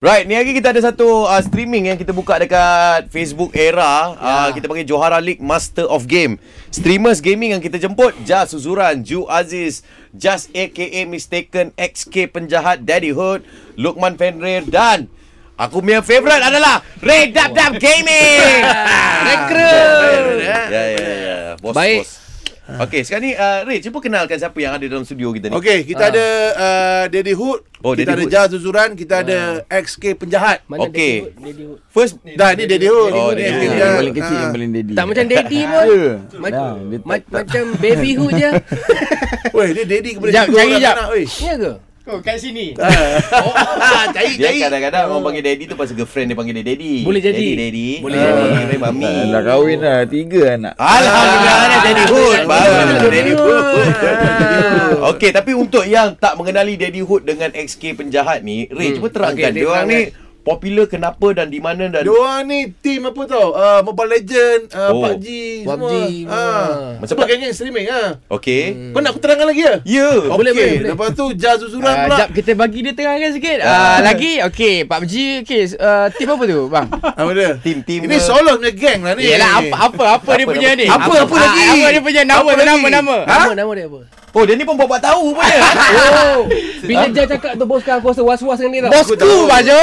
Right, ni hari kita ada satu uh, streaming yang kita buka dekat Facebook Era. Yeah. Uh, kita panggil Johara League Master of Game. Streamers gaming yang kita jemput Jas Suzuran, Ju Aziz, Jas aka Mistaken, XK Penjahat, Daddy Hood, Lukman Fenrir dan aku punya favourite adalah Red Dab Dab Gaming. Rekrut. ya ya ya. Bos Baik. bos. Okey, sekarang ni uh, Ray, cuba kenalkan siapa yang ada dalam studio kita ni. Okey, kita ada uh, Daddy Hood, Ah. Oh, Daddy kita ada Hood. Ah. Jazz Zuzuran, kita ada XK Penjahat. Mana Okey. Daddy Hood? First Dah ni Daddy Hood. Oh, Daddy Ni XK Hood. Penjahat. Yang paling kecil Ah. Yang paling daddy Tak macam daddy pun. Ya. Ma- Dah, dia tak- ma- macam baby hood je. Weh, dia Daddy kepada Jap, tiga cari orang jap. anak, weh. Ya ke? Oh, kat sini. Ah, cari Dia cari. kadang-kadang orang panggil daddy tu pasal girlfriend dia panggil dia daddy. Boleh jadi. Daddy, daddy. Boleh Ah, jadi. Daddy, mami. Dah dah kahwin dah Tiga anak Alhamdulillah ah, daddy hood. Baru Daddy daddy hood. hood. Okey, tapi untuk yang tak mengenali daddy hood dengan XK penjahat ni, Ray cuba terangkan Hmm. Okey, dia orang ni popular kenapa dan di mana dan Dia orang ni team apa tau? Uh, Mobile Legend, uh, Oh. PUBG, PUBG, semua. Ah. semua. Sebab geng streaming ah. Okey. Hmm. Kau nak aku terangkan lagi ya? Ya. Okey, Boleh, boleh, boleh. Lepas tu Jazz Zuzuran Ah, pula. jap kita bagi dia terangkan sikit. Ah, lagi okey PUBG okey uh, tip apa tu bang? Apa dia? Tim-tim Ini dia. solo punya geng lah ni. Yelah apa apa apa dia Apa punya nama- ni? Apa, apa Ah, lagi? Apa dia punya nama Apa tu lagi? nama nama. Ha? Nama nama dia apa? Oh, dia ni pun buat-buat tahu pun dia. Oh, Bila Jah cakap tu bos sekarang aku rasa was-was dengan dia tau. bosku bajo.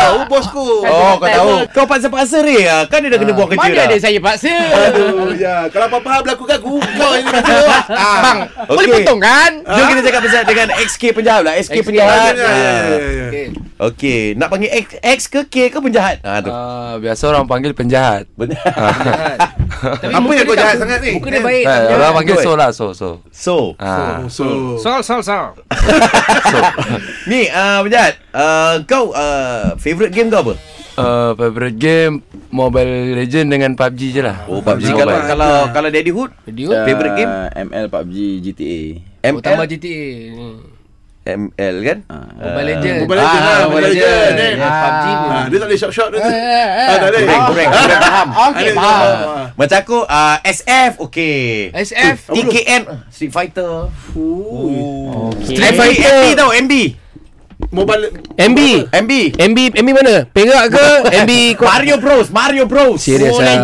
Tahu bosku. Oh, kau tahu. Kau paksa-paksa Ray ah. Kan dia dah kena buat kerja Mana dah. ada saya paksa. Aduh, ya. Kalau apa-apa hal berlaku kat aku, kau yang kena jawab. Ah. Bang, boleh Okey. potong kan? Jom kita cakap pasal dengan XK penjahat lah. XK, XK Ah. penjahat. Ah. Ah. Ya, ya, ya, ya, ya. Okey, nak panggil X, X ke K ke penjahat? Ha tu. Ah, biasa orang panggil penjahat. Tapi Apa muka yang dia kau tak- jahat sangat ni? Muka dia Eh? baik. Eh, orang panggil betul. so lah, so so. So, Ah, So, Sol, sol, sol. ni ah uh, penjahat, uh, kau uh, favorite game kau apa? uh, favorite game Mobile Legend dengan PUBG je lah. Oh, PUBG kalau Mobile. kalau kalau Daddy Hood, Video Ah, Favorite game? ML PUBG GTA oh, tambah ML, GTA ni. ML kan? Ah, Mobile Legends. Mobile Legends lah, Mobile Legend. eh. Ah, PUBG pun. Ah, Dia tak boleh shot-shot dia tu. eh, Ah, tak boleh. Korang, korang, korang faham. Okey, Ada- faham. Ah. Macam aku uh, SF, okey. SF. TKM Street Fighter. Street Street Fighter. Fighter. MB tau, MB. Mobile MB. MB. MB MB mana? Perak ke? MB Mario Bros, Mario Bros. Serius ah. Ah,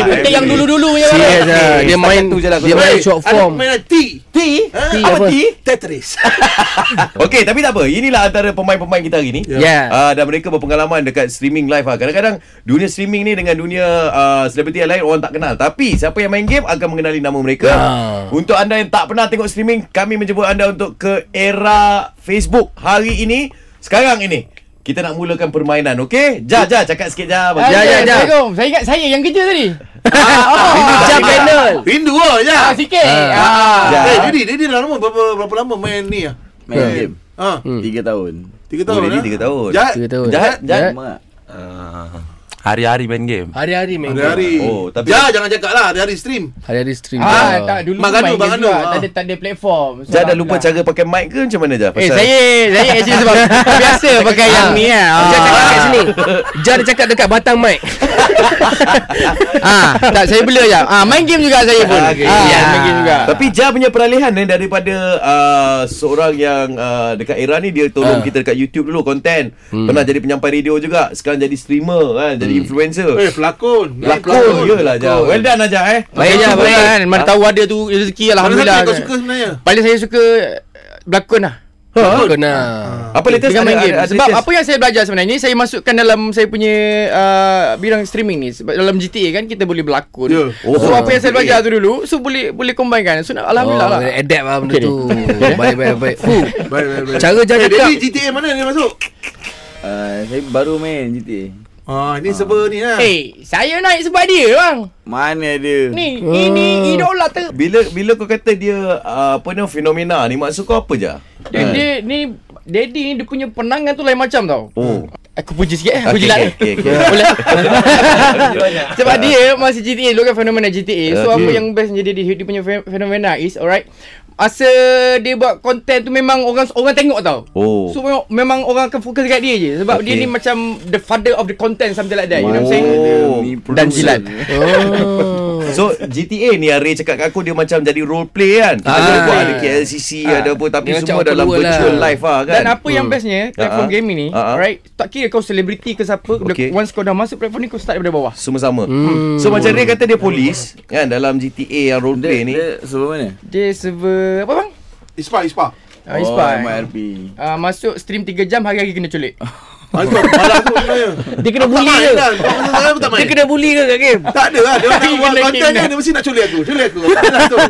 Dia MB. penting yang dulu-dulu punya barang. Serious ah. Dia Setakat main tu je lah aku dia tahu. main short Ada form. permainan T. T? T Apa apa? T? Tetris. Okey, tapi tak apa. Inilah antara pemain-pemain kita hari ni. Yeah. Uh, dan mereka berpengalaman dekat streaming live ah. Kadang-kadang dunia streaming ni dengan dunia uh, selebriti yang lain orang tak kenal. Tapi siapa yang main game akan mengenali nama mereka. Ah. Untuk anda yang tak pernah tengok streaming, kami menjemput anda untuk ke era Facebook hari ini, sekarang ini. Kita nak mulakan permainan, okey? Ja, ja, cakap sikit ja. Abang. Ja, Ya, ya, ja, ja. ya. Saya ingat saya yang kerja tadi. Ah, Jam panel. Rindu lah, ya. oh. Ah, sikit. Ah. Ja. Eh, jadi dia dah lama berapa berapa lama main ni ah? Main game Ah, Hmm. Tiga tahun tiga Oh, tahun. jadi ah. tiga tahun. Jahat. Tiga tahun. Jahat, jahat. Mak. Ah, hari-hari main game. Hari-hari main. game. Hari-hari. Oh, tapi- Jah, jangan cakap lah, hari-hari stream. Hari-hari stream. Ah, Ah, tak dulu Mak main Ganu, Mak game Ganu, juga. ah. Tak ada tak ada platform. So, Ja dah lupa alhamdulillah. cara pakai mic ke macam mana ja? Eh saya saya actually sebab biasa pakai yang ni ah. Jah cakap kat sini. Jah dia cakap dekat batang mic. ah, tak saya bela je. Ah, main game juga saya pun. Ah, okay. Ah, Ya. main game juga. Tapi Jah punya peralihan ni daripada uh, seorang yang uh, dekat era ni dia tolong Ah. uh. kita dekat YouTube dulu konten. Hmm. Pernah jadi penyampai radio juga, sekarang jadi streamer kan, Hmm. jadi influencer. Eh, pelakon. Lakon ya. je lah Jah. Well done lah Jah eh. Baik je, baik kan. Ah. Mana tahu ada tu rezeki Mana satu alhamdulillah. kan. yang kau suka sebenarnya? Paling saya suka eh, berlakon lah. Berlakon lah. Ha? Ah. Apa latest Dengan main ada- game. ada- ada Sebab latest? apa yang saya belajar sebenarnya saya masukkan dalam saya punya uh, bidang streaming ni. Sebab dalam GTA kan kita boleh berlakon. Ya. Oh. So apa yang saya belajar tu dulu so boleh boleh combine kan. So alhamdulillah Oh, lah. eh, boleh adapt lah benda Okey. tu. Baik, baik, baik. Fuh. Baik, baik, baik. Cara Jah Eh, cakap. Daddy, GTA mana dia masuk? Ah, Saya baru main GTA Ah, ni serba ni lah. Eh, saya naik sebab dia bang. Mana Ah. dia Ni, ini idola ter Bila bila kau kata dia uh, apa ni fenomena ni maksud kau apa Jah? Dia, dia ni Daddy ni dia punya penangan tu lain macam tau. Oh. Aku puji sikit eh. Aku Okey, jilat. okey, Okay, okey, okay, okey. Boleh. Sebab dia masa GTA dulu kan fenomena GTA. So Okey. apa yang bestnya dia dia dia punya fe- fenomena is alright. Masa dia buat konten tu memang orang orang tengok tau. Oh. So memang, memang orang akan fokus dekat dia je sebab Okey. dia ni macam the father of the content something like that. You know what I'm saying? Oh. Oh, Ni Dan producer. jilat. Oh. So GTA ni Ray cakap kat aku dia macam jadi role play kan. Kita Ah. boleh buat ada KLCC Ah. ada apa tapi Dia macam semua dalam open world virtual lah. life lah kan. ah. Dan apa yang bestnya Platform Ha-ha. gaming ni Ha-ha. Alright Tak kira kau selebriti ke siapa Okay. okay. Once kau dah masuk platform ni Kau start daripada bawah semua sama. So macam Ray kata dia polis kan dalam GTA yang role play ni. Dia sebab mana? Dia server Apa bang? Ispa, Ispa. Uh, oh, Ah, Ispa MRP. uh, Masuk stream 3 jam Hari-hari kena culik Itu malam tu sebenarnya. Dia kena Tak bully main ke? kan? Kau masa saya pun tak Dia main. kena bully ke kat game? Tak ada lah. Dia orang tengok Kena konten kena. dia, dia mesti nak culik aku. Culik aku. Tak ada lah tu.